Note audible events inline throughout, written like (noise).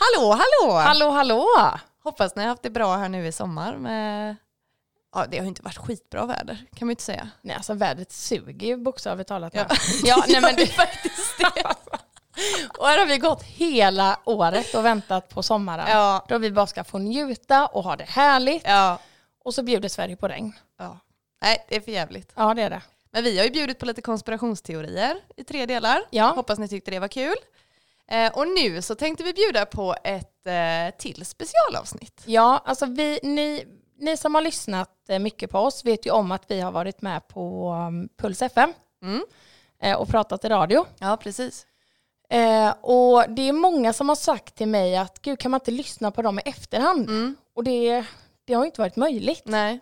Hallå, hallå! Hallå, hallå! Hoppas ni har haft det bra här nu i sommar. Med... Ja, det har ju inte varit skitbra väder, kan man ju inte säga. Nej, alltså vädret suger ju bokstavligt (laughs) talat. Ja. Ja, (laughs) ja nej men Gör ju det faktiskt det. (laughs) Och här har vi gått hela året och väntat på sommaren. Ja. Då vi bara ska få njuta och ha det härligt. Ja. Och så bjuder Sverige på regn. ja. Nej, det är för jävligt. Ja, det är det. Men vi har ju bjudit på lite konspirationsteorier i tre delar. Ja, Hoppas ni tyckte det var kul. Eh, och nu så tänkte vi bjuda på ett eh, till specialavsnitt. ja alltså vi, ni, ni som har lyssnat eh, mycket på oss vet ju om att vi har varit med på um, Puls FM Mm. eh, och pratat i radio. Ja, precis. Eh, och det är många som har sagt till mig att gud kan man inte lyssna på dem i efterhand? Mm. Och det, det har ju inte varit möjligt. Nej.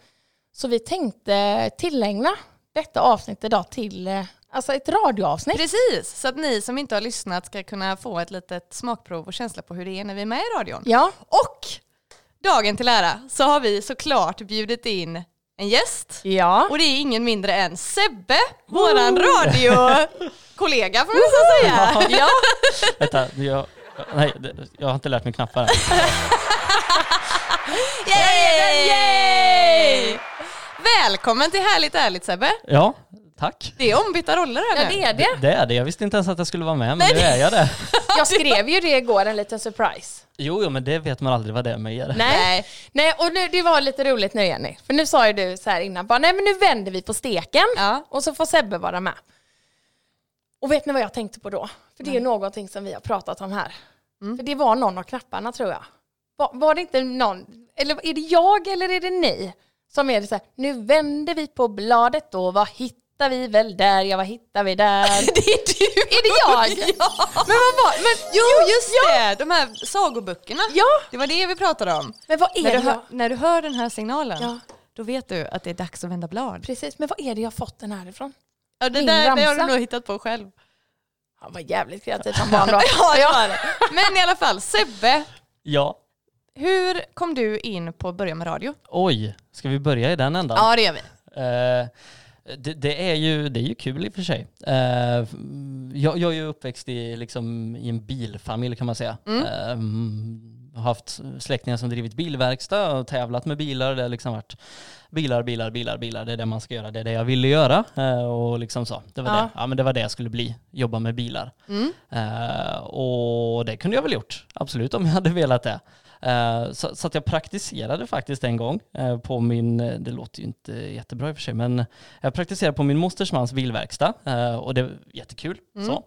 Så vi tänkte tillägna detta avsnitt idag till eh, alltså ett radioavsnitt. Precis, så att ni som inte har lyssnat ska kunna få ett litet smakprov och känsla på hur det är när vi är med i radion. Ja, Och dagen till ära så har vi såklart bjudit in en gäst. ja. Och det är ingen mindre än Sebbe, våran radiokollega får man nästan säga. ja. Vänta, jag, nej, det- jag har inte lärt mig knappar än. Yay! Yay! Välkommen till Härligt Ärligt Sebbe. Ja, tack. Det är ombytta roller här ja, nu. det är det. Det är det. Jag visste inte ens att jag skulle vara med, men nu är jag det. Jag skrev ju det igår, en liten surprise. Jo, jo, men det vet man aldrig vad det är med er. Nej. Nej. Nej. och nu, det var lite roligt nu Jenny. För nu sa ju du så här innan, bara, nej men nu vänder vi på steken Ja. och så får Sebbe vara med. Och vet ni vad jag tänkte på då? För det är någonting som vi har pratat om här. Mm. För det var någon av knapparna tror jag. Var, var det inte någon, eller är det jag eller är det ni? Som är det så här, nu vänder vi på bladet då, vad hittar vi väl där, ja vad hittar vi där? (laughs) (laughs) Det är du! är det jag? (laughs) Ja. Men vad var, men, Jo, just det! De här sagoböckerna. ja, Det var det vi pratade om. men vad är När det du, jag- hör, när du hör den här signalen, Ja. då vet du att det är dags att vända blad. Precis, men vad är det jag fått den här ifrån? Ja, det Min där det har du ramsa. nog hittat på själv. Han var jävligt kreativ som barn då. (laughs) Ja, jag har det. Men i alla fall, Sebbe, Ja, hur kom du in på att börja med radio? oj, ska vi börja i den ändan? det gör vi. Eh, det, det, är ju, det är ju kul i och för sig. Eh, jag, jag är ju uppväxt i, liksom, i en bilfamilj kan man säga. Eh, har haft släktingar som drivit bilverkstad och tävlat med bilar. Det har liksom varit bilar, bilar, bilar, bilar. Det är det man ska göra. Det är det jag ville göra. Eh, och liksom så. Det, var Ja. Det. Ja, men det var det jag skulle bli, jobba med bilar. Eh, och det kunde jag väl gjort, absolut, om jag hade velat det. Eh, Så, så att jag praktiserade faktiskt en gång eh, på min, eh, det låter ju inte jättebra i och för sig, men jag praktiserade på min mosters mans bilverkstad eh, och det var jättekul. Så.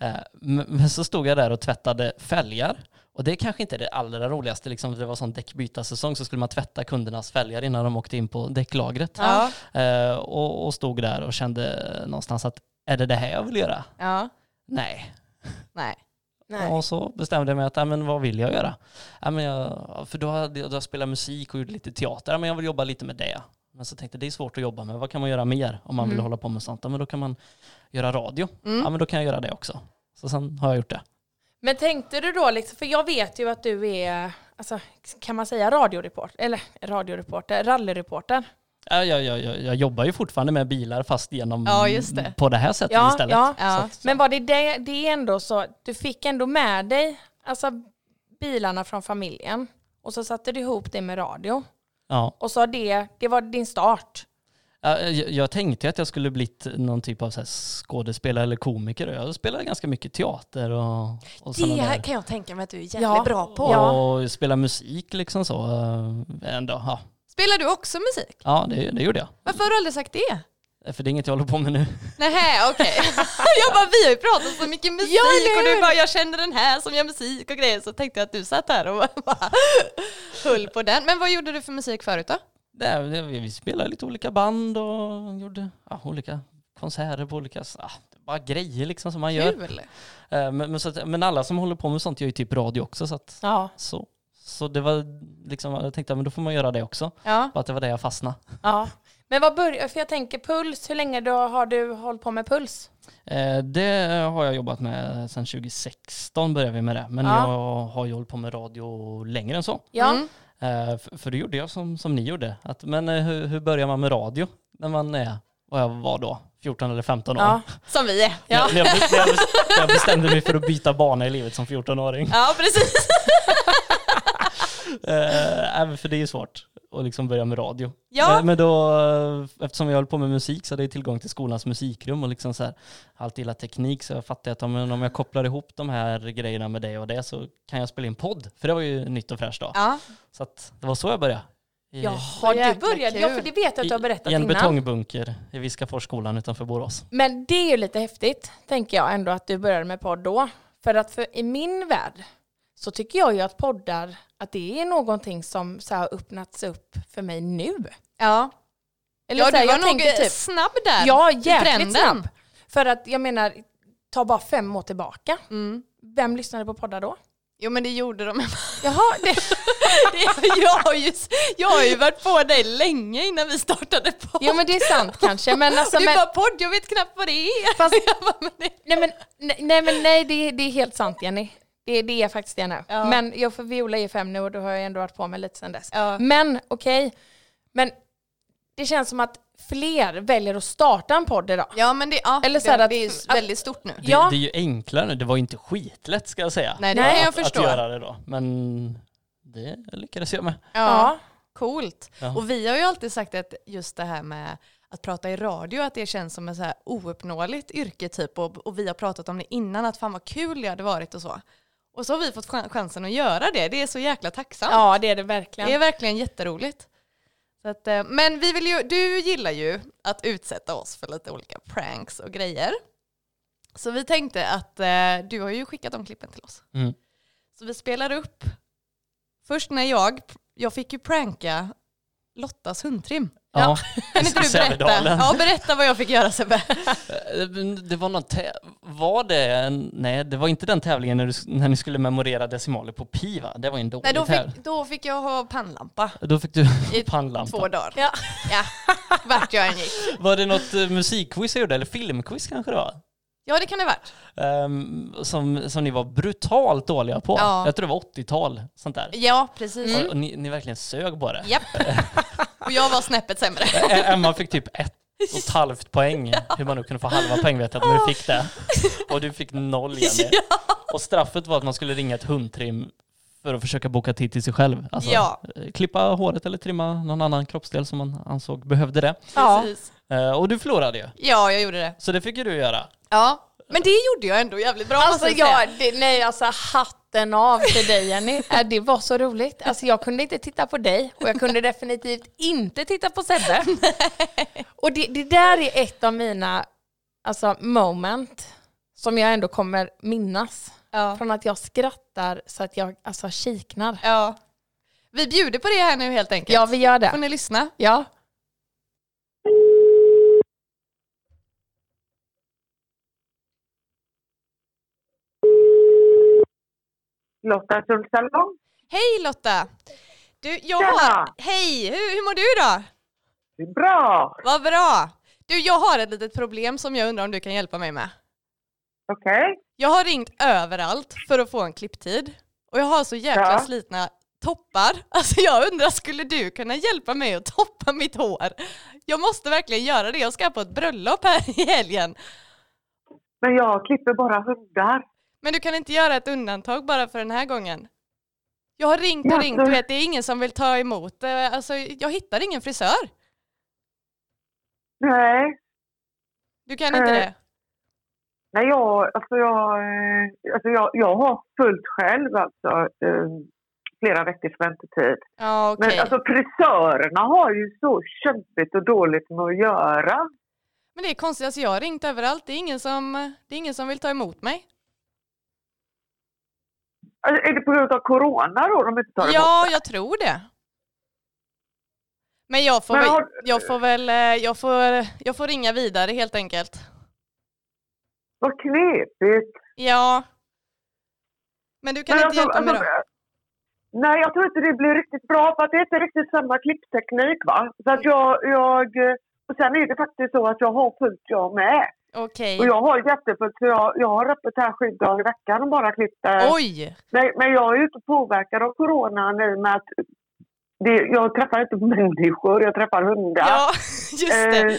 Eh, Men men så stod jag där och tvättade fälgar och det kanske inte är det allra roligaste, liksom, det var sån däckbytarsäsong så skulle man tvätta kundernas fälgar innan de åkte in på däcklagret. Ja. Eh, Och, och stod där och kände någonstans att är det det här jag vill göra? Ja. Nej, Nej. Nej. och så bestämde jag mig att, "Ja, men vad vill jag göra? Ja, men jag, för då hade jag, då jag spelat musik och gjorde lite teater, Ja, men jag vill jobba lite med det. Men så tänkte jag, det är svårt att jobba med, vad kan man göra mer om man vill hålla på med sånt? Ja, men då kan man göra radio. Ja, men då kan jag göra det också. Så sen har jag gjort det. Men tänkte du då, liksom, för jag vet ju att du är, alltså, kan man säga radioreporter, eller radioreporter, rallyreporter? Ja, jag, jag, jag, jag jobbar ju fortfarande med bilar fast genom Ja, just det. på det här sättet Ja, istället. ja. Så att, Men var det, det det är ändå så, du fick ändå med dig alltså, bilarna från familjen och så satte du ihop det med radio ja. och så det, det var din start. Ja, Jag, jag tänkte ju att jag skulle bli någon typ av så här skådespelare eller komiker. Jag spelade ganska mycket teater och, och sådana Det där- kan jag tänka mig att du är jävligt Ja. bra på. Ja. och spela musik liksom så. eh, Ändå. Ja, Spelar du också musik? ja det, det gjorde jag. Varför har du aldrig sagt det? Eh, För det är inget jag håller på med nu. Nej, okej. (laughs) jag bara, vi har ju pratat så mycket musik Ja, eller och du hur? bara, jag känner den här som gör musik och grejer. Så tänkte jag att du satt här och (laughs) bara höll på den. Men vad gjorde du för musik förut då? Det, är- det, vi vi spelade lite olika band och gjorde ja, olika konserter på olika... Ja, det är bara grejer liksom som man gör. Kul! Eh, Men, men, så att, men alla som håller på med sånt gör ju typ radio också. Så, att, Ja, så. så det var liksom, jag tänkte men då får man göra det också. Ja. Bara att det var det jag fastnade. ja. Men vad börjar, för jag tänker puls, hur länge då har du hållit på med puls? Eh, Det har jag jobbat med sedan 2016 började vi med det. Men Ja. jag har ju hållit på med radio längre än så. Ja, Mm. Eh, f- för det gjorde jag som, som ni gjorde. Att, men eh, hur, hur börjar man med radio när man är, vad jag var då, 14 eller 15 år? ja. Som vi är. När, när, jag, bes- när jag bes- när jag bestämde mig för att byta bana i livet som 14-åring. Ja, precis. Eh, även för det är ju svårt att liksom börja med radio. Ja. Men, men då, eh, eftersom jag höll på med musik så hade jag tillgång till skolans musikrum och liksom så här, alltid gillat teknik så jag fattade att om, om jag kopplar ihop de här grejerna med det och det så kan jag spela in podd. För det var ju nytt och fräscht då. Ja. Så att det var så jag började. I, Jaha, du Jäkla började. kul. Ja, för det vet jag att du har berättat i en innan. betongbunker i Viskaforsskolan utanför Borås. Men det är ju lite häftigt, tänker jag ändå, att du började med podd då. För att för, i min värld så tycker jag ju att poddar, att det är någonting som så här har öppnats upp för mig nu. Ja, Eller ja så du här, var jag nog tänker typ, snabb där. Ja, i jäkligt trenden. snabb. För att jag menar, ta bara fem år tillbaka. Mm. Vem lyssnade på poddar då? Jo men det gjorde de. Jaha, det, (laughs) Det, jag, har ju, jag har ju varit på dig länge innan vi startade podd. jo men det är sant kanske. Men alltså, du men, bara podd, jag vet knappt vad det är. Fast- (laughs) Jag bara, men det, nej men, nej, nej, men nej, det, det är helt sant Jenny. Det, det är faktiskt det nu. Ja. Men jag får Viola är fem nu och då har jag ändå varit på mig lite sedan dess. ja. Men okej, men det känns som att fler väljer att starta en podd idag. ja men det, ja, Eller Eller så här det, att- det är ju att- väldigt stort nu. Det, Ja. det är ju enklare nu. Det var ju inte skitlätt ska jag säga. Nej det Nej, kan jag att, att förstå. göra det då. Men det lyckades jag med. Ja, coolt. Ja. Och vi har ju alltid sagt att just det här med att prata i radio, att det känns som ett så här ouppnåeligt yrke typ. Och, och vi har pratat om det innan, att fan vad kul det hade varit och så. Och så har vi fått chan- chansen att göra det. Det är så jäkla tacksamt. Ja, det är det Det är verkligen. verkligen jätteroligt. Så att, eh, men vi vill ju, du gillar ju att utsätta oss för lite olika pranks och grejer. Så vi tänkte att eh, du har ju skickat de klippen till oss. Mm. Så vi spelar upp. Först när jag, jag fick ju pranka Lottas hundtrim. Ja. (laughs) Kan inte du berätta? Sävedalen. Ja, berätta vad jag fick göra Sebbe. Eh, Det var någon tä- Var det en... Nej, det var inte den tävlingen när, du, när ni skulle memorera decimaler på pi va? Det var ju en dålig Nej, då tävling. fick, då fick jag ha pannlampa Då fick du i (laughs) pannlampa. två dagar. Ja. Ja, vart jag än gick. Var det något eh, musikquiz jag gjorde? Eller filmquiz kanske det var? Ja, det kan det ha varit. Ehm, som, som ni var brutalt dåliga på. Ja. Mm. Jag tror det var 80-tal, sånt där. Ja, precis. Och, och ni, ni verkligen sög på det. Japp. (laughs) Och jag var snäppet sämre. E- Emma fick typ ett och ett halvt poäng. Hur man nu kunde få halva poäng vet jag inte, men du fick det. Och du fick noll (laughs) Jenny. Och straffet var att man skulle ringa ett hundtrim för att försöka boka tid till sig själv. Alltså, Ja. eh, Klippa håret eller trimma någon annan kroppsdel som man ansåg behövde det. Ja. Precis. Eh, Och du förlorade ju. Ja, jag gjorde det. Så det fick ju du göra. Ja. Men det gjorde jag ändå jävligt bra Alltså, måste jag säga. jag, det, nej, alltså hatten av till dig (laughs) Jenny. Äh, Det var så roligt. Alltså, jag kunde inte titta på dig och jag kunde definitivt inte titta (laughs) på Sebbe. Och det, det där är ett av mina alltså, moment som jag ändå kommer minnas. Ja. Från att jag skrattar så att jag alltså, kiknar. ja. Vi bjuder på det här nu helt enkelt. Ja, vi gör Får det. ni lyssna? Ja. Lotta Solsalong. Hej Lotta! Du, jag har... Tjena! Hej! Hur, hur mår du då? Bra! Vad bra! Du, jag har ett litet problem som jag undrar om du kan hjälpa mig med. Okej. Jag har ringt överallt för att få en klipptid och jag har så jäkla Ja. slitna toppar. (laughs) Alltså jag undrar, skulle du kunna hjälpa mig att toppa mitt hår? Jag måste verkligen göra det. Jag ska på ett bröllop här i helgen. Men jag klipper bara hundar. Men du kan inte göra ett undantag bara för den här gången. Jag har ringt och Ja, ringt, men- du vet, det är ingen som vill ta emot. Eh, Alltså, jag hittar ingen frisör. Nej. Du kan inte Eh. det? Nej, jag, alltså jag, eh, alltså jag, jag har fullt själv alltså. Eh, flera veckors väntetid. Ja, okej. Men alltså frisörerna har ju så kämpigt och dåligt med att göra. Men det är konstigt, alltså jag har ringt överallt. Det är ingen som, det är ingen som vill ta emot mig. Alltså, är det på grund av corona då de inte tar emot? Ja, jag tror det. Men jag får, Men väl, har- jag får väl, eh, jag får, jag får ringa vidare helt enkelt. Vad knepigt. Ja. Men du kan inte hjälpa mig då? alltså, eh, Nej, jag tror inte det blir riktigt bra för att det är inte riktigt samma klippteknik va. Så att jag, jag, eh, och sen är det faktiskt så att jag har fullt jag med. Okej. Och jag har jättefullt så jag, jag har öppet här sju dagar i veckan och bara klipper. Oj! Men, men jag är ju inte påverkad av coronan i och med att det, jag träffar inte (laughs) människor, jag träffar hundar. Ja, (laughs) just det. Eh,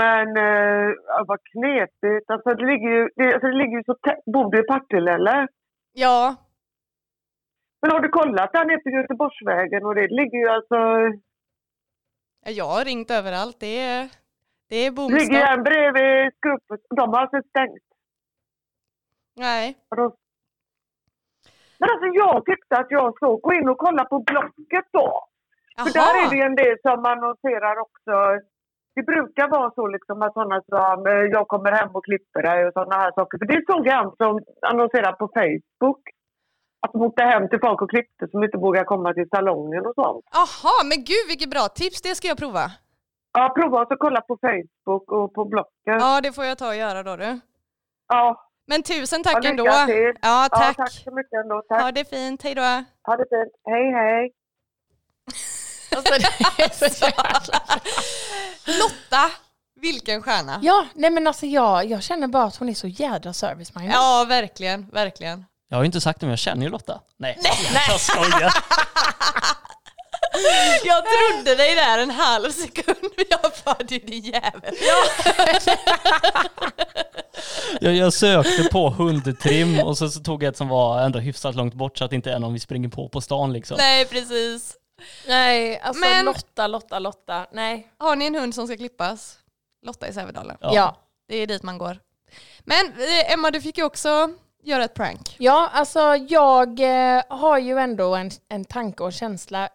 men eh, ja, vad knepigt. Alltså det ligger ju, det, alltså, det ligger ju så tätt. Bor du i Partille eller? Ja. Men har du kollat där nere på Göteborgsvägen och det ligger ju alltså, Ja, Jag har ringt överallt. Det är, det är ligger ju bomstopp. en bredvid Skupus. De har alltså stängt. Nej. Och de- Men alltså jag tyckte att jag såg, gå in och kolla på Blocket då. För där är det ju en del som annonserar också. Det brukar vara så liksom att sådana som eh, jag kommer hem och klipper dig och sådana här saker. För det såg jag en som annonserade på Facebook. Att de åkte hem till folk och klippte som inte vågar komma till salongen och sånt. Jaha, men gud vilket bra tips. Det ska jag prova. Ja, prova att kolla på Facebook och på Blocket. Ja, Ja, det får jag ta och göra då du. Men tusen tack ja ändå. lycka till. Ja, tack. Ja, tack så mycket ändå. Ha Tack. det fint. Hej då. Ha det fint. Hej, hej. Alltså, (laughs) det är så jävla... Lotta, vilken stjärna. Ja, nej men alltså jag, jag känner bara att hon är så jädra service-minded. Ja, verkligen, verkligen. Jag har ju inte sagt det men jag känner ju Lotta. Nej, (laughs) jag skojar. Jag trodde dig där en halv sekund, men jag bara du din jävel. Jag, jag sökte på hundtrim och så, så tog jag ett som var ändå hyfsat långt bort så att inte är någon vi springer på på stan liksom. Nej, precis. Nej, alltså Men- Lotta, Lotta, Lotta. Nej. Har ni en hund som ska klippas? Lotta i Sävedalen. Ja. ja. Det är dit man går. Men eh, Emma, du fick ju också göra ett prank. Ja, alltså jag eh, har ju ändå en, en tanke och känsla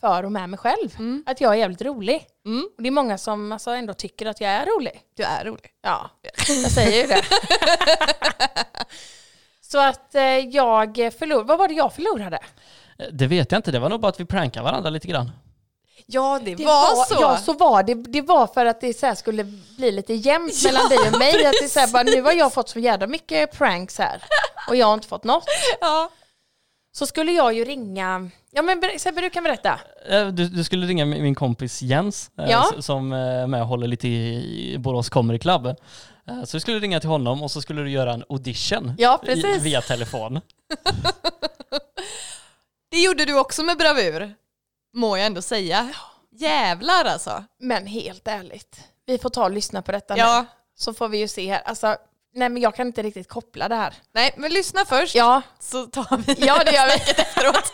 för och med mig själv. Mm. Att jag är jävligt rolig. Mm. Och det är många som alltså, ändå tycker att jag är rolig. Du är rolig. Ja, jag säger ju det. Så att eh, jag förlorade, vad var det jag förlorade? Eh, Det vet jag inte, det var nog bara att vi prankade varandra lite grann. (laughs) Ja, det, var, så. Ja, så var det. Det var för att det så här skulle bli lite (laughs) jämnt mellan dig och mig. Att det är så här, bara, nu har jag fått så jävla mycket pranks här och jag har inte fått något. Ja. Så skulle jag ju ringa, ja men ber- Sebbe du kan berätta. Eh, Du, du skulle ringa min min kompis Jens eh, Ja. s- som eh, är med och håller lite i Borås Comedy Club. Eh, Så du skulle ringa till honom och så skulle du göra en audition Ja, i- precis. via telefon. Det gjorde du också med bravur, må jag ändå säga. Jävlar alltså. Men helt ärligt, vi får ta och lyssna på detta Ja. nu. Så får vi ju se här. Alltså, nej men jag kan inte riktigt koppla det här. Nej, men lyssna först Ja, så tar vi ja det gör vi. efteråt.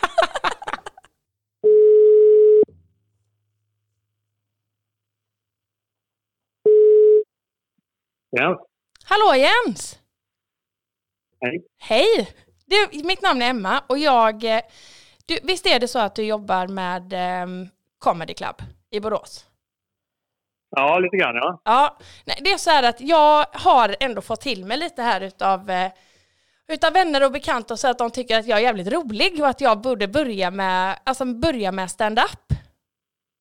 Ja, Hallå Jens! hej. Hej! Du, mitt namn är Emma och jag... eh, Du, visst är det så att du jobbar med ehm, Comedy Club i Borås? Ja, lite grann ja. Ja, nej, det är så här att jag har ändå fått till mig lite här utav, eh, utav vänner och bekanta så att de tycker att jag är jävligt rolig och att jag borde börja med, alltså börja med stand-up.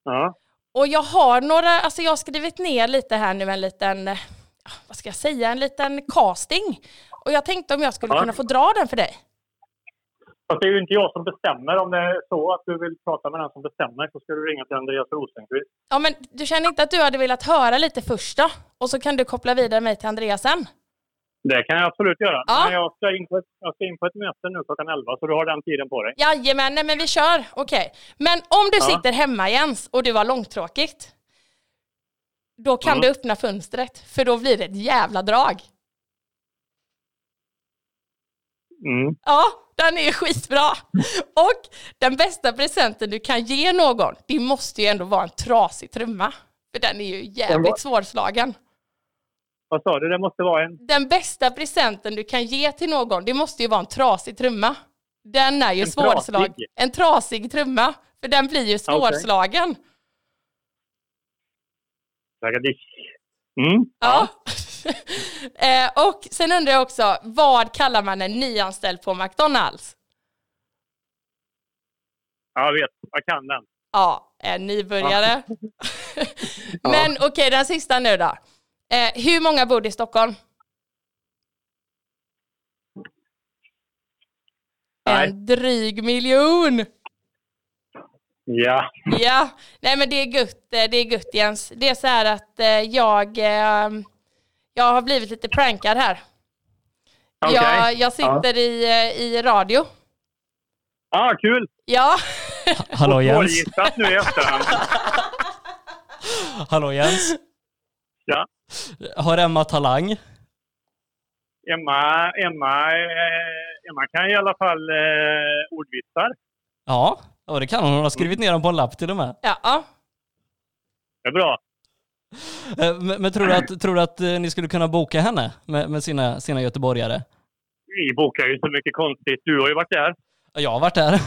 ja. Och jag har några, alltså jag har skrivit ner lite här nu en liten, eh, ja, vad ska jag säga, en liten casting. Och jag tänkte om jag skulle Ja. kunna få dra den för dig. Fast det är ju inte jag som bestämmer. Om det är så att du vill prata med den som bestämmer så ska du ringa till Andreas Rosenqvist. Ja, men du känner inte att du hade velat höra lite först då? Och så kan du koppla vidare mig till Andreas sen? Det kan jag absolut göra. Ja. Men jag ska, in på ett, jag ska in på ett möte nu klockan 11 så du har den tiden på dig. Jajamän, nej men vi kör. Okej. Men om du Ja. sitter hemma Jens och du har långtråkigt, då kan Mm. du öppna fönstret, för då blir det ett jävla drag. Mm. Ja, den är skitbra. Och den bästa presenten du kan ge någon, det måste ju ändå vara en trasig trumma. För den är ju Den var- jävligt svårslagen. Vad sa du? Det måste vara en... Den bästa presenten du kan ge till någon, det måste ju vara en trasig trumma. Den är ju En svårslag. trasig? En trasig trumma. För den blir ju svårslagen. Mm. Ja. (laughs) eh, och sen undrar jag också, vad kallar man en nyanställd på McDonalds? Ja, jag vet. Jag kan den. Ja, en nybörjare. (laughs) Men okej, den sista nu då. Eh, hur många bor det i Stockholm? Nej. En dryg miljon! Ja. Ja, nej men det är gött, eh, det är gött Jens. Det är så här att eh, jag, eh, jag har blivit lite prankad här. Okej. Jag, jag Ja. sitter i, eh, i radio. Ja, kul! Ja, Ha- Hallå Jens. Svårgissat nu i efterhand. Hallå Jens. Ja. Har Emma talang? Emma, Emma, eh, Emma kan i alla fall eh, ordvitsar. Ja, ja, det kan hon. Hon har skrivit ner dem på en lapp till och med. Ja, ja. Det är bra. Eh, Men, men tror, du att, tror du att eh, ni skulle kunna boka henne med, med sina, sina göteborgare? Vi bokar ju så mycket konstigt. Du har ju varit där. Ja, Jag har varit där. (laughs)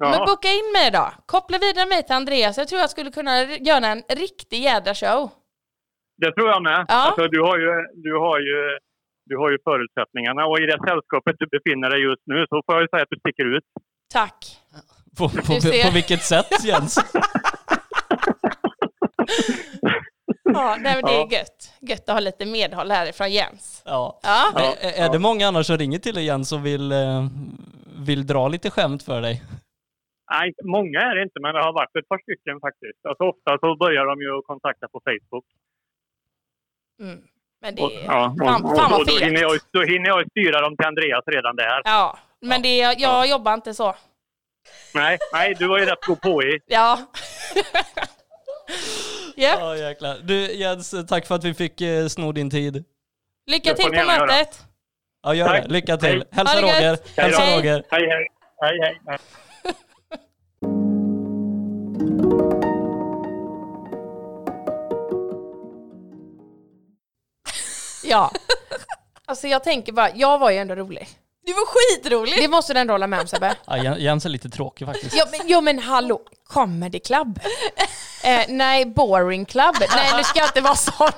Men Ja, boka in mig då. Koppla vidare mig till Andreas. Jag tror jag skulle kunna r- göra en riktig jädra show. det tror jag med. Ja. Alltså, du, har ju, du, har ju, du har ju förutsättningarna och i det sällskapet du befinner dig just nu så får jag ju säga att du sticker ut. Tack. På, på, på, Du ser. vilket sätt Jens? Ja, nej, men det Ja. är gött. Gött att ha lite medhåll härifrån Jens. Ja. Ja. Ja. Är, är det många annars som ringer till dig Jens och vill, eh, vill dra lite skämt för dig? Nej, inte- många är det inte, men det har varit ett par stycken faktiskt. Alltså, ofta så börjar de ju att kontakta på Facebook. Mm. Men det Och, är... ja, och, fan- fan vad och, och då, fegt. hinner jag, ju- då hinner jag ju styra dem till Andreas redan där. Ja, men det, jag jobbar inte så. Nej, nej, du var ju rätt god på i. Ja. (laughs) Japp. Ja jäklar. Du Jens, tack för att vi fick eh, sno din tid. Lycka Det får till på ni gärna göra. mötet. Ja gör Tack. det. Lycka till. Hej. Hälsa Ha det gött. Roger. Hej Hälsa då. Roger. Hej, hej. hej, hej, hej. Ja. (laughs) Alltså jag tänker bara, jag var ju ändå rolig. Det var skitroligt! Det måste du ändå hålla med om Sebbe. Ja, Jen- Jens är lite tråkig faktiskt. Jo men, jo, men hallå, comedy (laughs) club? Eh, nej, boring club. Nej nu ska jag inte vara sån.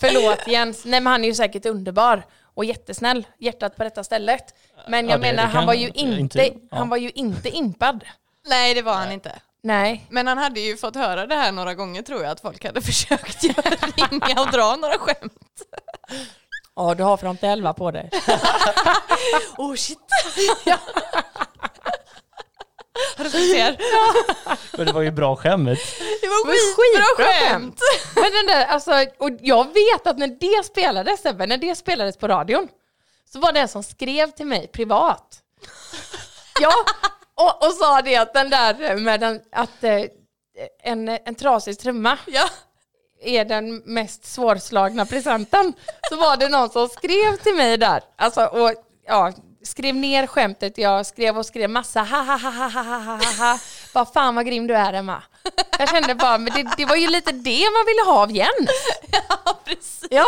Förlåt Jens, nej men han är ju säkert underbar och jättesnäll. Hjärtat på detta stället. Men jag Ja, det- menar, det han, kan- var ju inte- inte, ja. han var ju inte impad. Nej det var han inte. Nej. Men han hade ju fått höra det här några gånger tror jag att folk hade (laughs) försökt ringa och dra några skämt. Ja, du har frontelva på (laughs) dig. Oh shit! Ja. Har du sett det? Men det var ju bra skämt. Det var Men skitbra skitbra skämt! Men den där, alltså, och jag vet att när det spelades, Sebbe, när det spelades på radion, så var det en som skrev till mig privat. Ja, och, och sa det att den där med den, att eh, en, en trasig trumma Ja. (laughs) är den mest svårslagna presenten. Så var det någon som skrev till mig där, alltså, och ja, skrev ner skämtet, jag skrev och skrev massa ha ha ha ha ha ha ha ha ha. Bara fan vad grym du är Emma. Jag kände bara, men det, det var ju lite det man ville ha av Jens. ja, precis. Ja.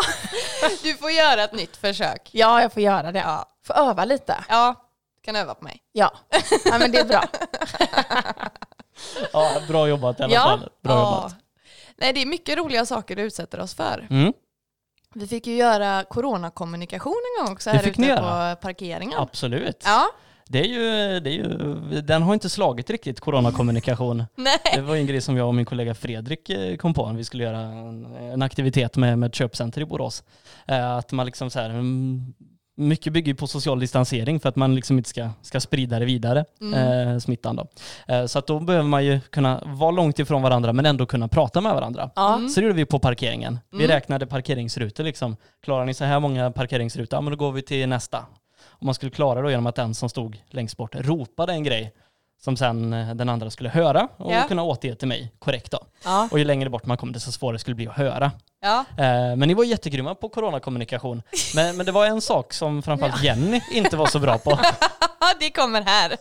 Du får göra ett nytt försök. ja, jag får göra det. Får öva lite. Ja, du kan öva på mig. Ja, ja men det är bra. Ja, bra jobbat i alla Ja. fall. Bra Ja. jobbat. Nej, det är mycket roliga saker du utsätter oss för. Mm. Vi fick ju göra coronakommunikation en gång också Det här fick ute ni på parkeringen. Absolut. Ja, Det är ju, det är ju, den har inte slagit riktigt, coronakommunikation. nej. Det var ju en grej som jag och min kollega Fredrik eh, kom på när vi skulle göra en, en aktivitet med, med ett köpcenter i Borås. Eh, Att man liksom så här, mm, mycket bygger ju på social distansering för att man liksom inte ska, ska sprida det vidare, eh, smittan då. Eh, så att då behöver man ju kunna vara långt ifrån varandra men ändå kunna prata med varandra. Mm. Så det gjorde vi på parkeringen. Vi räknade parkeringsrutor liksom. Klarar ni så här många parkeringsrutor, ja, men då går vi till nästa. Och man skulle klara det genom att den som stod längst bort ropade en grej som sen eh, den andra skulle höra och Ja. kunna återge till mig korrekt då. Ja. Och ju längre bort man kom desto svårare skulle det bli att höra. Ja. Eh, Men ni var jättegrymma på coronakommunikation. Men, men det var en sak som framförallt Jenny inte var så bra på. det kommer här.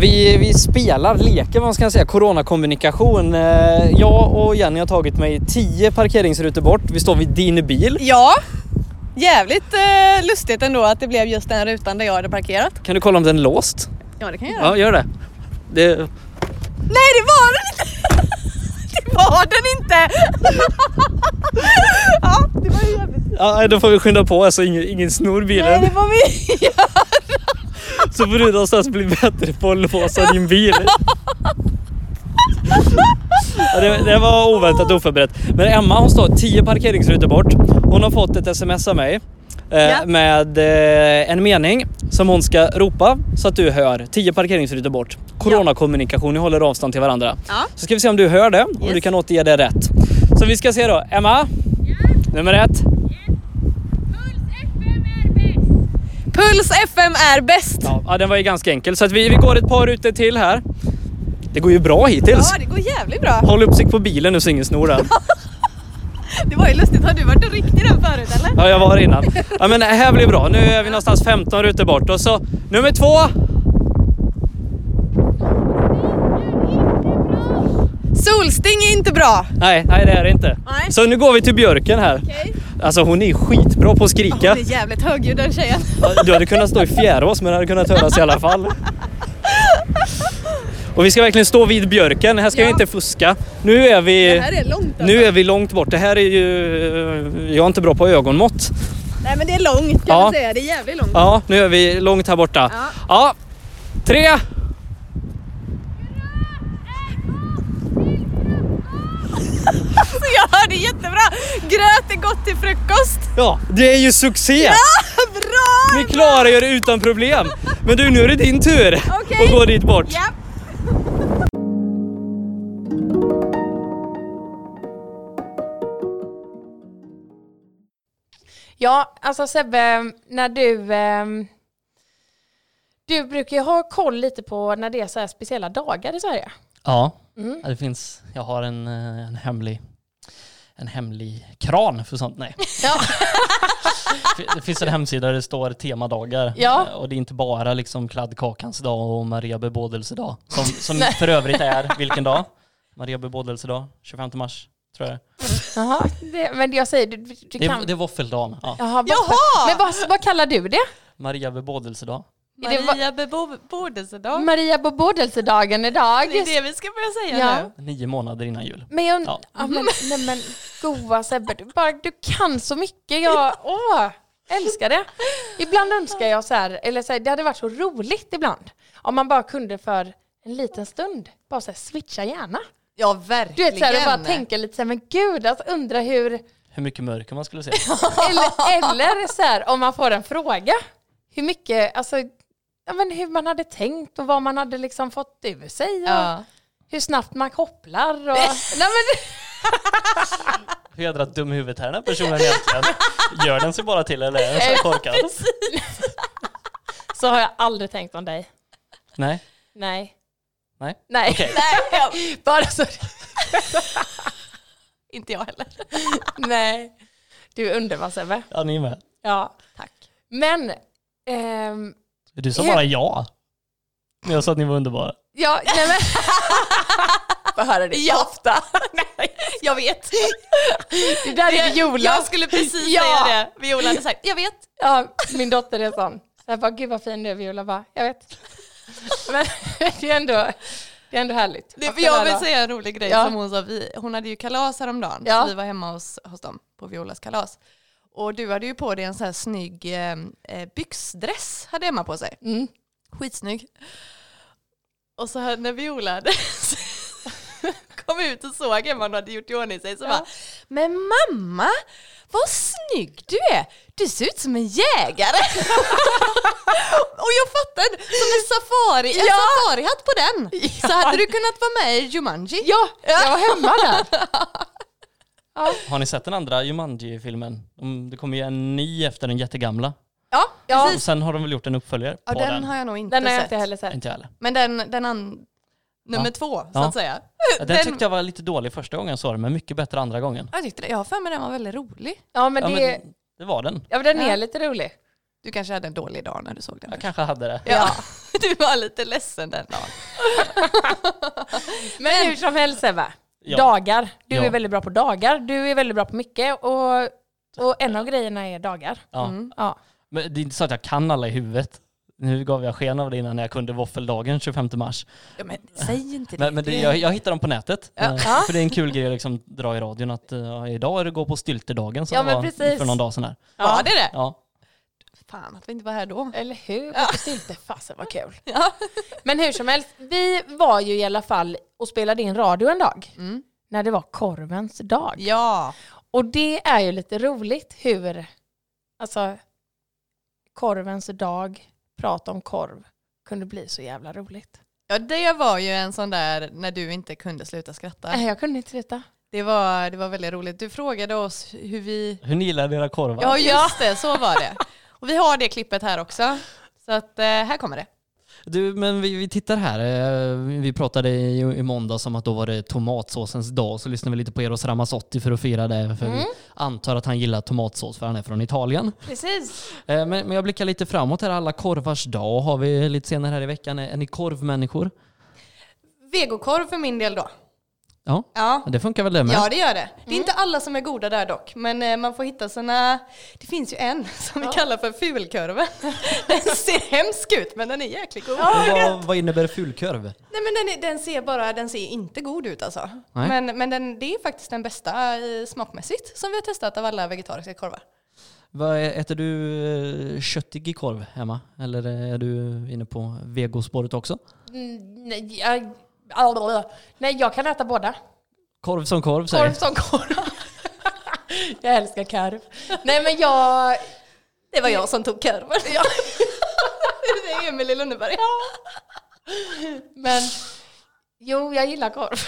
Vi, vi spelar, leker vad man ska säga, coronakommunikation. Eh, Jag och Jenny har tagit mig tio parkeringsrutor bort. Vi står vid din bil. Ja, jävligt eh, lustigt ändå att det blev just den rutan där jag hade parkerat. Kan du kolla om den är låst? Ja, det kan jag göra. Ja, gör det. det Nej, det var den inte! (laughs) Det var den inte! ja, det var ju jävligt... ja, då får vi skynda på så ingen, ingen snor Nej, bilen. det var vi... Ja. (laughs) Så får du någonstans bli bättre på att låsa din bil. Ja, det, det var oväntat och oförberett. Men Emma hon står 10 parkeringsrutor bort. Hon har fått ett sms av mig eh, med eh, en mening som hon ska ropa så att du hör. 10 parkeringsrutor bort. Coronakommunikation, ni håller avstånd till varandra. Ja. Så ska vi se om du hör det och du Yes. kan återge det rätt. Så vi ska se då. Emma, nummer ett. Puls FM är bäst! Ja, ja, den var ju ganska enkel så att vi, vi går ett par rutor till här. Det går ju bra hittills. Ja, det går jävligt bra. Håll uppsikt på bilen nu så ingen snor den. Det var ju lustigt. Har du varit och ryckt i den förut eller? Ja, jag var här innan. Ja, men det här blir bra. Nu är vi någonstans 15 rutor bort. Och så nummer två. Solsting är inte bra. Nej, nej det är det inte. Nej. Så nu går vi till björken här. Okej. Alltså hon är skitbra på att Hon skrika. är jävligt högljudd den tjejen. Du hade kunnat stå i fjärås men det hade kunnat höras i alla fall. Och vi ska verkligen stå vid björken, här ska Ja. jag inte fuska. Nu är Det vi, här är långt alltså. nu är vi långt bort, det här är ju... Jag är inte bra på ögonmått. Nej men det är långt kan Ja. man säga. Det är jävligt långt. Ja, nu är vi långt här borta. Ja. Ja, tre! Jag hörde jättebra. Gröt är gott till frukost. Ja, det är ju succé! Bra! Ni klarar ju det utan problem. Men du, nu är det din tur Okej. att gå dit bort. Ja. Ja, alltså Sebbe, när du... ehm, Du brukar ju ha koll lite på när det är så här speciella dagar i Sverige. Ja, Mm. det finns, jag har en, eh, en, hemlig, en hemlig kran för sånt. Nej. (laughs) Ja. (laughs) Det finns en hemsida där det står temadagar Ja. Eh, och det är inte bara liksom kladdkakans dag och Maria bebådelsedag (laughs) som, som för övrigt är vilken dag? Maria bebådelsedag, 25 mars tror jag. Jaha, det, men jag säger, du, du du Det, kan... är- det är våffeldagen. Ja. Jaha! vad- Jaha! Men vad, vad kallar du det? Maria bebådelsedag. Det var- Maria bebådelsedag. Maria bebådelsedagen idag. Det är det vi ska börja säga Ja. nu. Nio månader innan jul. Men jag Ja. ja. men, nej men goa Sebbe, du, bara, du kan så mycket. Jag åh, älskar det. Ibland önskar jag så här, eller så här, det hade varit så roligt ibland. Om man bara kunde för en liten stund, bara så här, switcha gärna. Ja, Du verkligen. vet så här, och bara tänka lite så här, men gud, alltså, undra hur, Hur mycket mörker (laughs) man skulle se. eller, eller så här, om man får en fråga, hur mycket, alltså, ja, men hur man hade tänkt och vad man hade liksom fått ur sig. Och Ja. Hur snabbt man kopplar och... nej, men, Hur jädra dum i huvudet är den här personen (laughs) egentligen? Gör den sig bara till eller är den så här korkad? (laughs) så har jag aldrig tänkt om dig. Nej. Nej. Nej. Nej. Okej. (laughs) Bara så... (laughs) Inte jag heller. Nej. Du är underbar Sebbe. Ja, ni är med. Ja. Tack. Men, ehm, Du sa bara ja. Men jag sa att ni var underbara. ja, nej men, Får höra det ja. ofta. (laughs) Nej, jag vet. (laughs) det där är Viola. Jag skulle precis Ja. säga det. Viola hade sagt, jag vet. Ja, min dotter är sån. Jag bara, gud vad fin du är Viola. Bara, jag (laughs) vet. Men (laughs) det är ändå, det är ändå härligt. Det, Att jag den vill här- säga en rolig grej Ja. som hon sa. Vi, hon hade ju kalas häromdagen. Ja. Så vi var hemma hos, hos dem på Violas kalas. Och du hade ju på dig en sån här snygg eh, eh, byxdress. Hade Emma på sig. Mm. Skitsnygg. Och så här, när Viola hade (laughs) kom ut och såg Emma hon hade gjort i ordning sig så bara Men mamma, vad snygg du är! Du ser ut som en jägare! (laughs) och jag fattade, som en safari, en Ja. safarihatt på den! Ja. Så hade du kunnat vara med i Jumanji. Ja, jag var hemma där. Har ni sett den andra Jumanji-filmen? De- Det kommer ju en ny efter den jättegamla. Ja, Ja. precis. Och sen har de väl gjort en uppföljare Ja, på den, den. har jag nog inte Den har jag sett. inte heller sett. Inte jag heller. Men den, den an, nummer Ja. två, så Ja. att säga. Den, Den- tyckte jag var lite dålig första gången jag såg den, men mycket bättre andra gången. Jag tyckte det. Jag har för mig den var väldigt rolig. Ja, men, Ja, det, ja, men det var den. men den Ja. är lite rolig. Du kanske hade en dålig dag när du såg den. Jag kanske hade det. Ja, (laughs) du var lite ledsen den dagen. Men hur som helst Ebba, Ja. dagar. Du Ja. är väldigt bra på dagar. Du är väldigt bra på mycket. Och, och en av grejerna är dagar. Ja. Mm. Ja. Men det är inte så att jag kan alla i huvudet. Nu gav jag sken av det innan jag kunde våffeldagen 25 mars. Ja, men säg inte det. Men, men det, jag, jag hittar dem på nätet. Ja. Eh, För det är en kul grej att liksom dra i radion att eh, idag är det gå på styltedagen som Ja, det men var precis. för någon dag sedan. Här. Var det det? Ja. Fan att vi inte var här då. Eller hur? Varför sylte? Fasen vad kul. Men hur som helst, vi var ju i alla fall och spelade in radio en dag. Mm. När det var korvens dag. Ja. Och det är ju lite roligt hur, alltså, korvens dag, prata om korv, kunde bli så jävla roligt. ja, det var ju en sån där när du inte kunde sluta skratta. Nej, jag kunde inte sluta. Det var, det var väldigt roligt. Du frågade oss hur vi... Hur ni gillar era korvar. Ja, just det, så var det. Och vi har det klippet här också. Så att, eh, här kommer det. Du, men vi, vi tittar här. Eh, Vi pratade i, i måndags om att då var det tomatsåsens dag, så lyssnade vi lite på Eros Ramazzotti för att fira det, för Mm. vi antar att han gillar tomatsås för han är från Italien. Precis. Eh, Men, men jag blickar lite framåt här, alla korvars dag har vi lite senare här i veckan. Är, är ni korvmänniskor? Vegokorv för min del då. Ja, Ja. det funkar väl det med? Ja det gör det. Det är inte alla som är goda där dock, men eh, man får hitta sina... Det finns ju en (laughs) som vi kallar för (laughs) fulkurven. Den ser hemsk ut men den är jäkligt god. Och vad, vad innebär fulkorv? Nej men den, är, den ser bara, den ser inte god ut alltså. Nej. Men, men den, det är faktiskt den bästa eh, smakmässigt som vi har testat av alla vegetariska korvar. Vad är- Äter du eh, köttig korv hemma? Eller är du inne på vegospåret också? Mm, nej, jag, blablabla. nej, jag kan äta båda. Korv som korv säger Korv som korv. jag älskar korv. Nej men jag... Det var jag som tog korven. det är Emil i Lönneberga. Men jo, jag gillar korv.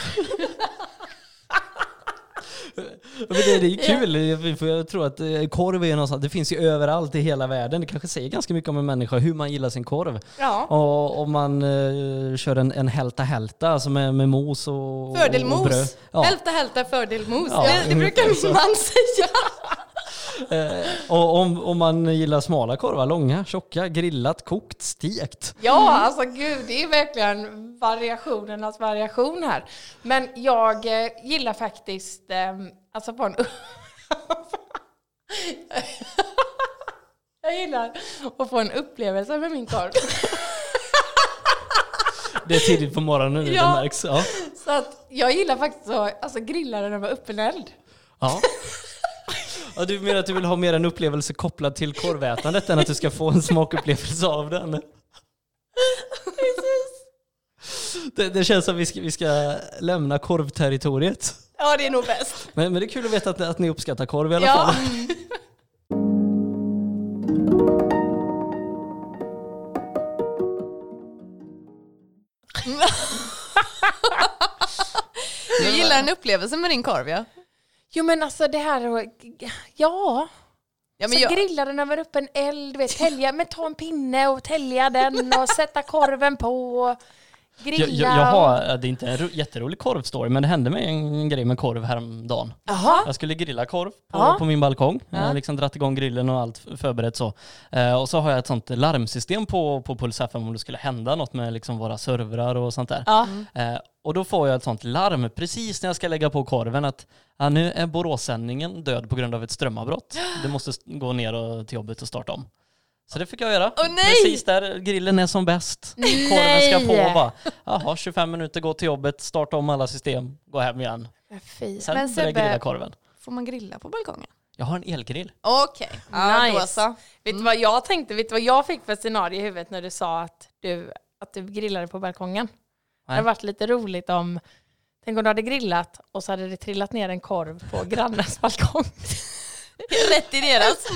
Ja, Men det, det är ju kul, för jag tror att eh, korv är ju någonstans, det finns ju överallt i hela världen. Det kanske säger ganska mycket om en människa, hur man gillar sin korv. Ja. Och om man eh, kör en, en hälta hälta, alltså med, med mos och, Fördel och bröd. mos. Ja. Hälta hälta fördel mos. Ja, det, det brukar ungefär så. min man säga. Och om, om man gillar smala korvar, långa, tjocka, grillat, kokt, stekt. Ja, alltså gud, det är verkligen variationernas variation här. Men jag eh, gillar faktiskt, eh, alltså på en... (laughs) jag gillar att få en upplevelse med min korv. Det är tidigt på morgonen nu, Ja. det märks. Ja. Så att jag gillar faktiskt att alltså, grilla den över öppen eld. Ja. (laughs) Ja, du menar att du vill ha mer en upplevelse kopplad till korvätandet än att du ska få en smakupplevelse av den? Det, det känns som vi ska, vi ska lämna korvterritoriet. Ja det är nog bäst. Men, men det är kul att veta att, att ni uppskattar korv i alla Ja. fall. Du gillar en upplevelse med din korv ja. Jo men alltså det här, att- ja. ja Så grilla den över öppen eld, du vet, tälja, men ta en pinne och tälja den och sätta korven på. och Grilla. Jag, jag, jag har, det är inte en ro, jätterolig korvstory, men det hände mig en grej med korv häromdagen. Jaha. Jag skulle grilla korv på, Ja. på min balkong. Jag har liksom dratt igång grillen och allt förberett så. Eh, och så har jag ett sånt larmsystem på, på Puls FM om det skulle hända något med liksom våra servrar och sånt där. Ja. Eh, och då får jag ett sånt larm precis när jag ska lägga på korven att ja, nu är Boråssändningen död på grund av ett strömavbrott. Det måste s- gå ner och, till jobbet och starta om. Så det fick jag göra. Åh, nej! Precis där grillen är som bäst. Korven ska Nej! på bara. Jaha, 25 minuter, gå till jobbet, starta om alla system, gå hem igen. Fy. Sen Men börjar jag grilla Sebbe- korven. Får man grilla på balkongen? Jag har en elgrill. Okej. Ja, Nice. då så. Vet du vad jag tänkte? Vet du vad jag fick för scenario i huvudet när du sa att du, att du grillade på balkongen? Det hade varit lite roligt om, tänk om du hade grillat och så hade det trillat ner en korv på grannens balkong. Rätt i deras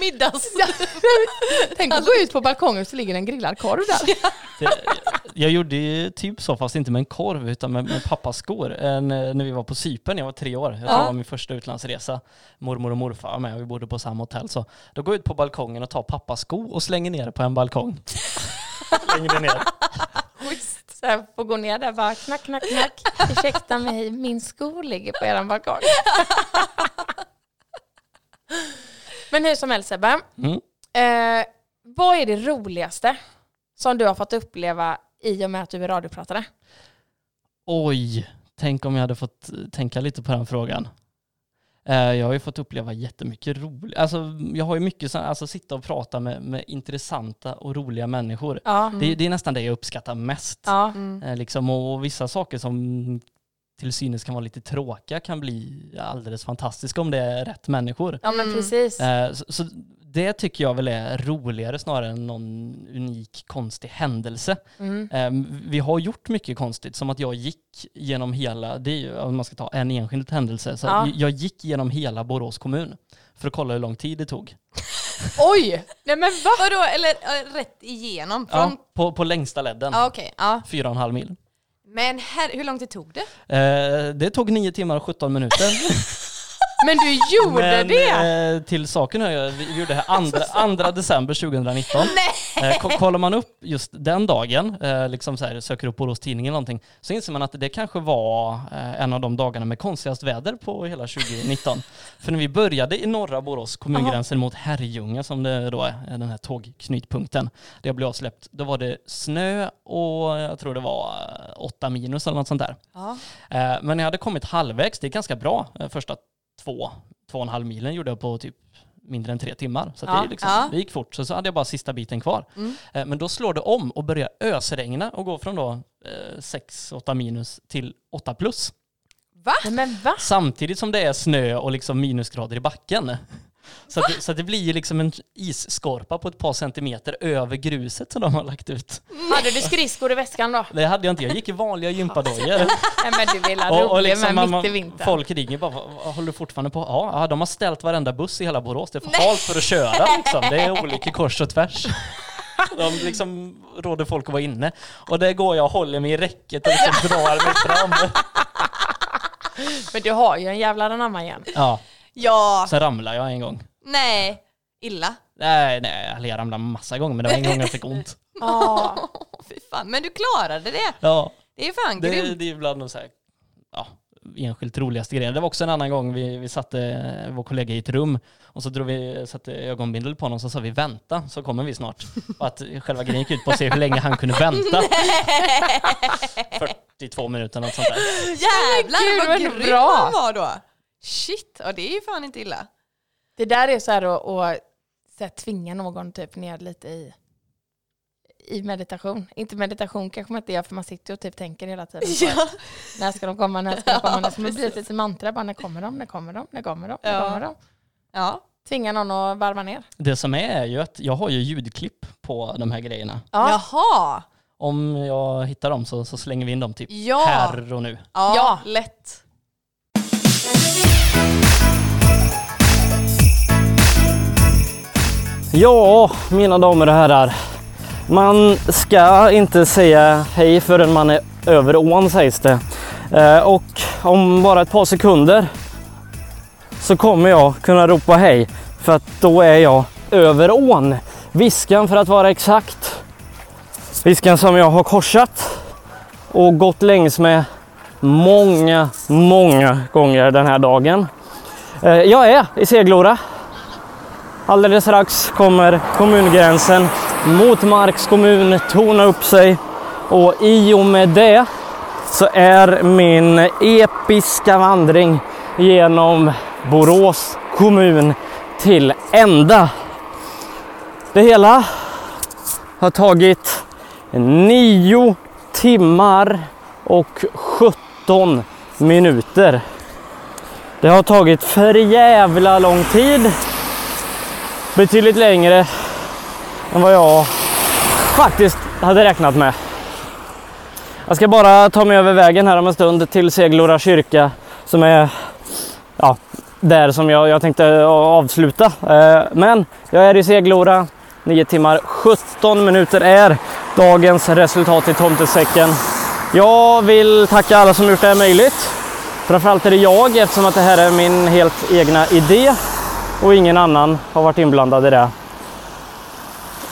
middags... (laughs) tänk att gå ut på balkongen och så ligger en grillad korv där. Det, jag gjorde ju typ så, fast inte med en korv utan med, med pappas skor. En, eh, när vi var på Cypern, jag var tre år. Jag tror det var min första utlandsresa. Mormor och morfar var med och vi bodde på samma hotell. Så då går jag ut på balkongen och tar pappas sko och slänger ner det på en balkong. slänger det ner. Så jag får gå ner där och bara knack, knack, knack. Ursäkta mig, min sko ligger på er balkong. Men hur som helst Sebbe, Mm. eh, vad är det roligaste som du har fått uppleva i och med att du är radiopratare? Oj, tänk om jag hade fått eh, tänka lite på den frågan. Eh, Jag har ju fått uppleva jättemycket roligt. Alltså, jag har ju mycket, så- alltså sitta och prata med, med intressanta och roliga människor. Ja. Det, det är nästan det jag uppskattar mest. Ja. Eh, Liksom, och vissa saker som till synes kan vara lite tråkiga kan bli alldeles fantastiska om det är rätt människor. ja, men (laughs) precis. Eh, Så, så det tycker jag väl är roligare snarare än någon unik konstig händelse. Eh, Vi har gjort mycket konstigt, som att jag gick genom hela, det är ju, om man ska ta en enskild händelse, så Ja. jag gick genom hela Borås kommun för att kolla hur lång tid det tog. Oj! Nej men va? Vadå, eller eh, rätt igenom? Från... Ja, på, på längsta ledden, Ja, okej. Ja. fyra och en halv mil. Men här, hur lång tid tog det? Eh, Det tog nio timmar och 17 minuter. Men du gjorde Men det! eh, till saken hör jag, vi gjorde det här 2 december 2019. Eh, ko- kollar man upp just den dagen, eh, liksom så här, söker upp Borås Tidning eller någonting, så inser man att det kanske var eh, en av de dagarna med konstigast väder på hela 2019. För när vi började i norra Borås kommungränsen mot Herrljunga som det då är, eh, den här tågknytpunkten, där jag blev avsläppt, då var det snö och jag tror det var 8 minus eller något sånt där. Ja. Eh, Men jag hade kommit halvvägs, det är ganska bra. Eh, Första två, två och en halv milen gjorde jag på typ mindre än tre timmar. Så att Ja, det, är liksom, ja. Mm. det gick fort. Så, så hade jag bara sista biten kvar. Eh, Men då slår det om och börjar ösregna och går från då 6-8 minus till 8 plus. Nej, men va? Samtidigt som det är snö och liksom minusgrader i backen. (laughs) Så, att, det- så att det blir ju liksom en isskorpa på ett par centimeter över gruset som de har lagt ut. Hade du skridskor i väskan då? Det hade jag inte, jag gick i vanliga gympadojor. Nej men du (laughs) vill ha Och, och rolig liksom med man, mitt i man, vintern. folk ringer bara, "Vad- vad håller du fortfarande på? Ja, ja, de har ställt varenda buss i hela Borås. Det är för halt för att köra (laughs) liksom. Det är olika kors och tvärs. De liksom råder folk att vara inne. Och där går jag och håller mig i räcket och liksom drar mig fram. Men du har ju en jävla anamma igen. Ja, Ja, sen ramlade jag en gång. nej, illa. Nej, nej, eller jag ramlade massa gånger men det var en gång jag fick ont. (laughs) Ja. Fy fan. Men du klarade det. Ja, Det är fan det, är- grymt. det är ibland de så här, ja, enskilt roligaste grejen. Det var också en annan gång vi, vi satte eh, vår kollega i ett rum och så drog vi, satte ögonbindel på honom och så sa vi vänta så kommer vi snart. (laughs) Och att själva grejen gick ut på att se hur länge han kunde vänta. 42 minuter något sånt där. Jävlar vad Men gud, vad grym bra. han var då. Shit, ja, det är ju fan inte illa. Det där är så här att, att så här, tvinga någon typ ner lite i, i meditation. Inte meditation kanske man inte gör för man sitter ju och typ tänker hela tiden. på att, När ska de komma, när ska de komma, när ska de bli ett litet mantra. Bara, när kommer de, när kommer de, när kommer de, när Ja. kommer de. Ja. Tvinga någon att varva ner. Det som är är ju att jag har ju ljudklipp på de här grejerna. Ja. Jaha, Om jag hittar dem så, så slänger vi in dem typ Ja. här och nu. ja, Ja. lätt. Ja, mina damer och herrar. Man ska inte säga hej förrän man är över ån sägs det. Eh, Och om bara ett par sekunder så kommer jag kunna ropa hej för att då är jag över ån. Viskan för att vara exakt. Viskan som jag har korsat och gått längs med många, många gånger den här dagen. Eh, Jag är i Seglora. Alldeles strax kommer kommungränsen mot Marks kommun torna upp sig och i och med det så är min episka vandring genom Borås kommun till ända. Det hela har tagit 9 timmar och 17 minuter. Det har tagit för jävla lång tid betydligt längre än vad jag faktiskt hade räknat med. Jag ska bara ta mig över vägen här om en stund till Seglora kyrka som är ja, där som jag, jag tänkte avsluta. Eh, Men jag är i Seglora. 9 timmar 17 minuter är dagens resultat i tomtesäcken. Jag vill tacka alla som gjort det här möjligt. Framförallt är det jag eftersom att det här är min helt egna idé och ingen annan har varit inblandad i det.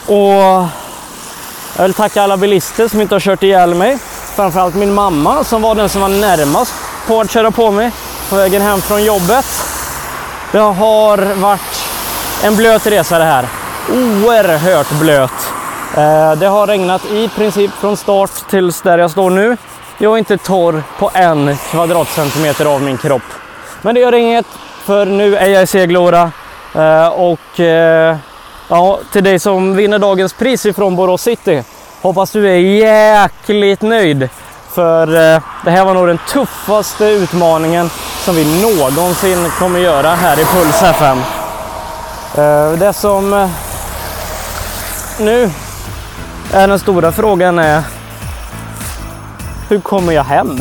Och jag vill tacka alla bilister som inte har kört ihjäl mig. Framförallt min mamma som var den som var närmast på att köra på mig på vägen hem från jobbet. Det har varit en blöt resa det här. Oerhört blöt. Eh, Det har regnat i princip från start tills där jag står nu. Jag är inte torr på en kvadratcentimeter av min kropp. Men det gör inget, för nu är jag i Seglora. Eh, och eh, ja, till dig som vinner dagens pris ifrån Borås City. Hoppas du är jäkligt nöjd. För eh, det här var nog den tuffaste utmaningen som vi någonsin kommer göra här i Puls FM. Eh, det som eh, nu är den stora frågan är hur kommer jag hem?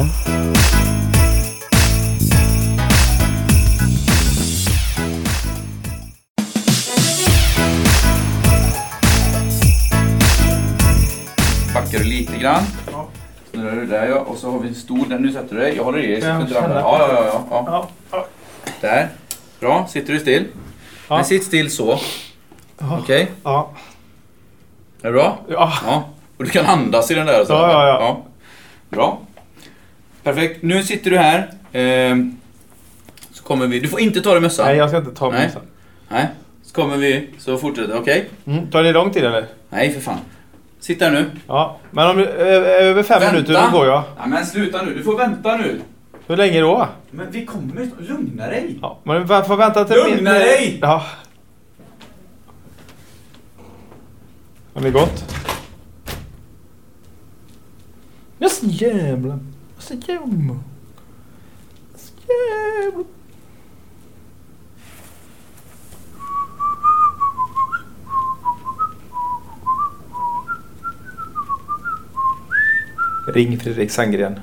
backar du lite grann. Snurrar du där ja. Och så har vi en stol där. Nu sätter du dig. Jag håller i dig. så att du inte ramlar. Ja, ja, ja, ja, ja. Där. sitter du still? Ja. Men sitt still så. Ja. Okej? Ja. Är det bra? Ja. Ja. Och du kan andas i den där. och Så. Ja, ja, ja. Bra. Perfekt. Nu sitter du här. Ehm, så kommer vi... Du får inte ta dig mössan. Nej, jag ska inte ta Nej. mig Nej. Så kommer vi, så fortsätter Okej? mm. Tar det lång tid eller? Nej, för fan. Sitt där nu. Ja. Men om ö- ö- över fem minuter, då går jag. Ja, men sluta nu. Du får vänta nu. Hur länge då? Men vi kommer ju... Lugna dig. Ja. Men varför vänta till... Lugna dig! Ja. Har ni gått? Jag så jävla... Jag så jävla... Jag så jävla... Ring Fredrik Sandgren.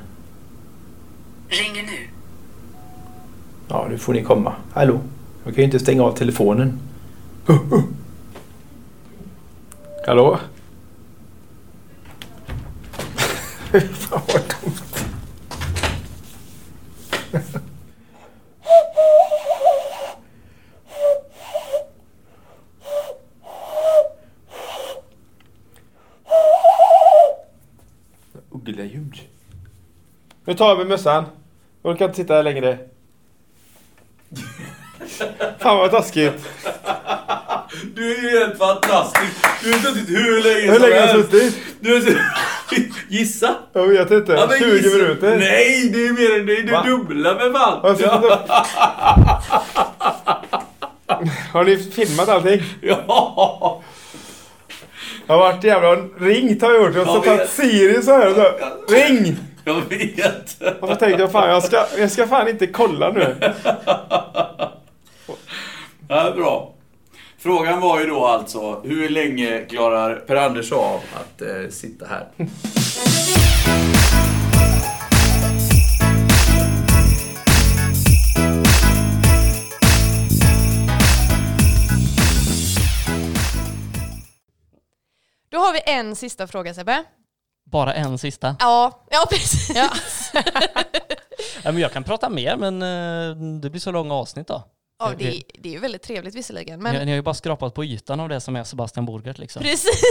Ringer nu. Ja, nu får ni komma. Hallå? Jag kan ju inte stänga av telefonen. Uh, Hallå? Fan vad dumt. Uggleljud. (laughs) Nu tar jag med mössan. Jag orkar inte sitta här längre. Fan vad taskigt. Du är ju helt fantastisk. Du har suttit hur Hur länge som länge har jag helst. suttit? Du har suttit... (laughs) Gissa! Jag vet inte. Ja, men 20 gissa. minuter. Nej, det är mer än det. Va? Du dubbla med Har, fan. jag suttit Ja. och... (laughs) har ni filmat allting? (laughs) Ja. Jag har varit jävla ringt har jag gjort. Jag har Jag tagit vet. Siri så här och så. Ring! Jag vet. Och så tänkte jag fan jag ska, jag ska fan inte kolla nu. Ja, bra. Frågan var ju då alltså, hur länge klarar Per Anders av att eh, sitta här? Då har vi en sista fråga Sebbe. Bara en sista. Ja, ja precis. Ja, men jag kan prata mer, men eh, det blir så långa avsnitt då. (laughs) Ja, det, är- det är ju väldigt trevligt visserligen. Men Ni, ni har ju bara skrapat på ytan av det som är Sebastian Borgert liksom. precis.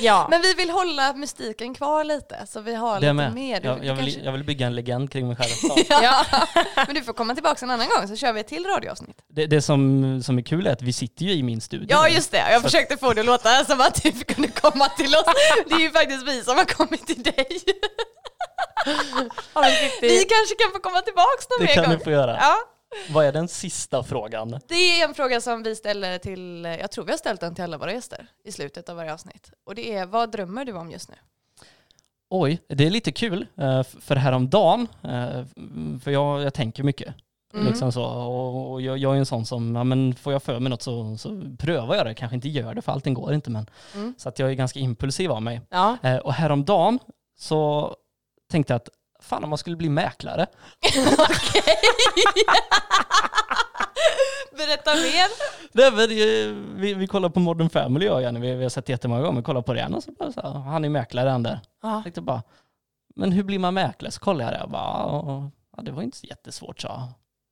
Ja. Men vi vill hålla mystiken kvar lite så vi har Det är lite med. mer. Du, Jag, jag, du vill, kanske- jag vill bygga en legend kring mig själv. Ja. Ja. (laughs) Men du får komma tillbaka en annan gång så kör vi ett till radioavsnitt. Det, det som, som är kul är att vi sitter ju i min studio. Ja nu. just det, jag försökte få det att låta som att du kunde komma till oss. Det är ju faktiskt vi som har kommit till dig. Har vi riktigt- Vi kanske kan få komma tillbaka någon Det mer kan gång. ni få göra. Ja. Vad är den sista frågan? Det är en fråga som vi ställer till, jag tror vi har ställt den till alla våra gäster i slutet av varje avsnitt. Och det är, vad drömmer du om just nu? Oj, det är lite kul, eh, f- för häromdagen, eh, för jag, jag tänker mycket. Liksom så. Och, och jag, jag är en sån som, ja, men får jag för mig något så, så prövar jag det. Kanske inte gör det, för allting går inte. Men. Så att jag är ganska impulsiv av mig. Ja. (laughs) Eh, och häromdagen så tänkte jag att fan om man skulle bli mäklare. Berätta mer. Nej, men, eh, vi, vi kollar på Modern Family jag och Jenny, vi, vi har sett det jättemånga gånger, kollar på det igen och så bara, så här, han är mäklare han där. Jag tänkte bara, men hur blir man mäklare? Så kollade jag det och bara, "Ja, ja, det var inte så jättesvårt sa han.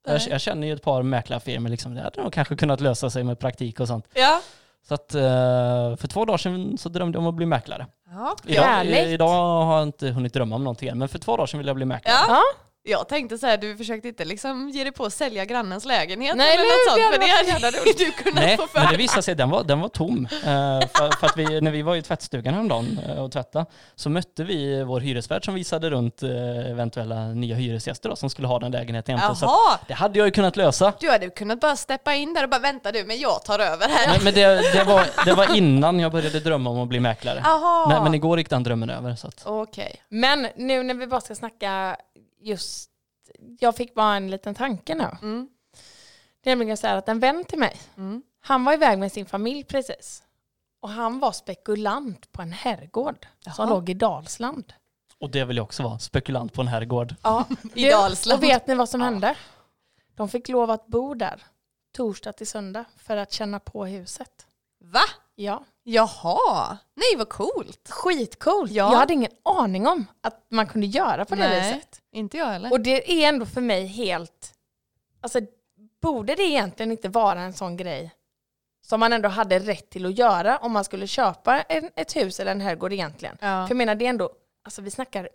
jag. Jag känner ju ett par mäklarfirmor, liksom, det hade nog kanske kunnat lösa sig med praktik och sånt. Ja. Så att, eh, för två dagar sedan så drömde jag om att bli mäklare. ja. Idag, Härligt. i, idag har jag inte hunnit drömma om någonting än, men för två dagar sedan ville jag bli mäklare. Ja. Ja. Jag tänkte så här, du försökte inte liksom ge dig på att sälja grannens lägenhet Nej, eller nej, något det sånt, hade för det varit hade så jävla du kunnat Nej, få för men det dig. visade sig, den var, den var tom. Eh, för, för att vi, när vi var i tvättstugan häromdagen eh, och tvättade så mötte vi vår hyresvärd som visade runt eh, eventuella nya hyresgäster då, som skulle ha den lägenheten egentligen. Så Jaha. att det hade jag ju kunnat lösa. Du hade kunnat bara steppa in där och bara vänta du, men jag tar över här. Men, men det, det, var, det var innan jag började drömma om att bli mäklare. Jaha. Nej, men igår gick den drömmen över. Så att, Okej. Men nu när vi bara ska snacka just, jag fick bara en liten tanke nu. Mm. Det är nämligen så här att en vän till mig, Mm. han var iväg med sin familj precis. Och han var spekulant på en herrgård som Jaha. låg i Dalsland. och det vill jag också vara, spekulant på en herrgård. Ja, I det- Dalsland. Och vet ni vad som hände? De fick lov att bo där torsdag till söndag för att känna på huset. Va? Ja. Jaha. Nej, vad coolt. Skitcoolt! Ja. Jag hade ingen aning om att man kunde göra på det Nej. viset. Inte jag heller. Och det är ändå för mig helt, alltså borde det egentligen inte vara en sån grej som man ändå hade rätt till att göra om man skulle köpa en, ett hus eller en herrgård egentligen? Ja. För jag menar, det är ändå, alltså vi snackar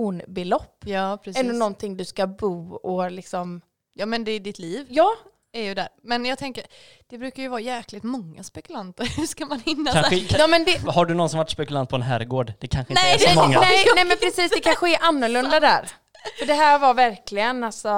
miljonbelopp. Ja, precis. Ändå någonting du ska bo och liksom, Ja, men det är ditt liv ja, är ju där. Men jag tänker, det brukar ju vara jäkligt många spekulanter. (laughs) Hur ska man hinna? så här? Kanske, ja men det, Har du någon som varit spekulant på en herrgård? Det kanske inte Nej, är så det- (laughs) många. Nej, nej men precis, det kanske är annorlunda där. För det här var verkligen alltså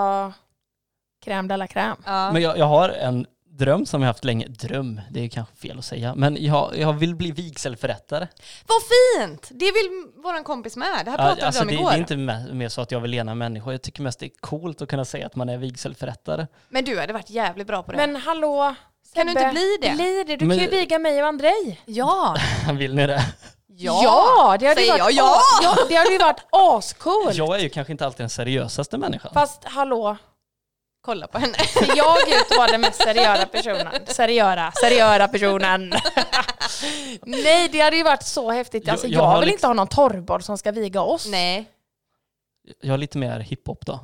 crème de la crème. Ja. Men jag, jag har en dröm som jag haft länge. Dröm, det är kanske fel att säga. Men jag, jag vill bli vigselförrättare. Vad fint! Det vill vår kompis med. Det här pratade Ja, alltså, vi det, om det igår. är inte me- mer så att jag vill lena människor. Jag tycker mest det är coolt att kunna säga att man är vigselförrättare. (laughs) Men du hade varit jävligt bra på det. Men hallå, Kan du Sebbe, inte bli det? Bli det, du Men- kan ju viga mig och Andrej. ja. Vill ni det? ja det hade ju Säger varit, jag ja. as- ja, det hade ju varit ascoolt. Jag är ju kanske inte alltid den seriösaste människan. Fast hallå, Kolla på henne. (laughs) ser jag ut att vara den mest seriöra personen? Seriöra, seriöra personen. (laughs) Nej, det hade ju varit så häftigt. Alltså, Jag- jag, jag har vill liksom- inte ha någon torrborr som ska viga oss. Nej. Jag är lite mer hiphop då.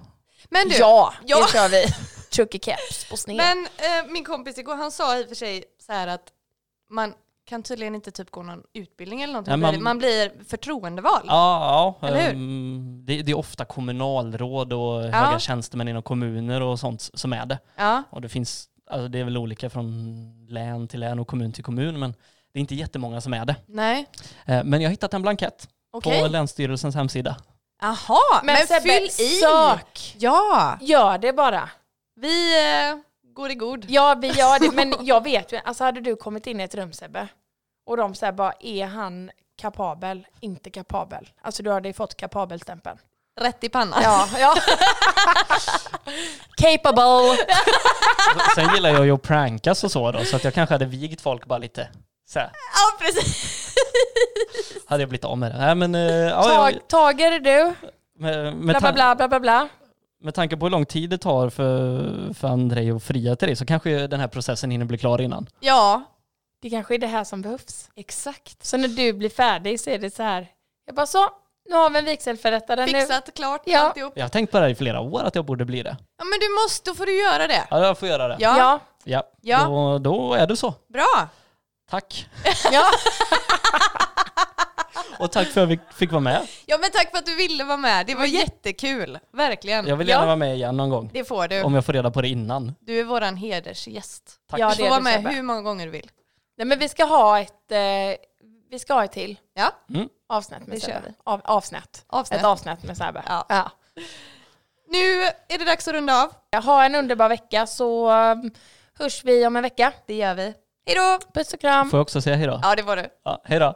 Men du, Ja, Ja. det kör vi. Chucky caps på sned. men, eh, min kompis igår han sa i och för sig så här att man kan tydligen inte typ gå någon utbildning eller någonting. Nej, man, man- blir, man blir förtroendevald. Ja, ja Eller hur? ehm, det, det är ofta kommunalråd och Ja. höga tjänstemän inom kommuner och sånt som är det. Ja. Och det finns, alltså det är väl olika från län till län och kommun till kommun, men det är inte jättemånga som är det. Nej, Eh, Men jag har hittat en blankett okej. på Länsstyrelsens hemsida. (laughs) Jaha, men, Sebbe, fyll i. Sök. Ja, Gör det bara. vi eh, går i god. Ja, vi gör det. Men jag vet ju, alltså hade du kommit in i ett rum Sebbe, och de säger bara, är han kapabel? Inte kapabel. Alltså du hade ju fått kapabelstämpeln. Rätt i pannan. Ja, ja. (laughs) Capable. Sen gillar jag ju att prankas och så då, så att jag kanske hade vigt folk bara lite så här. Ja, precis. Hade jag blivit av med det. Nej, men, eh, ja, jag, Tag, tager är du. med, med, Bla, bla, bla, tan- bla, bla, bla. med tanke på hur lång tid det tar för, för Andrej att fria till dig så kanske den här processen hinner bli klar innan. (laughs) Ja, Det kanske är det här som behövs. exakt. Så när du blir färdig så är det så här. Jag bara så, nu har vi en vigselförrättare nu. Fixat, klart, Ja. alltihop. Jag har tänkt på det här i flera år att jag borde bli det. Ja, men du måste, då får du göra det. Ja, jag får göra det. Ja, Ja, Ja, Ja. Då, då är det så. bra. Tack. (laughs) ja. Och tack för att vi fick vara med. Ja, men tack för att du ville vara med. Det var jättekul. Verkligen. Jag vill gärna Ja, vara med igen någon gång. Det får du. Om jag får reda på det innan. Du är våran hedersgäst. Tack. Ja, Du det får är vara du, med Sebbe. hur många gånger du vill. Nej men vi ska ha ett, eh, vi ska ha ett till Ja, avsnitt med Det kör Sebbe. vi. Av, avsnitt. avsnitt. Ett avsnitt med Sebbe. Ja. Ja. Nu är det dags att runda av. Ha en underbar vecka så um, hörs vi om en vecka. Det gör vi. Hej då! Puss och kram. Får jag också säga hej då? Ja, det var du. Ja, hej då.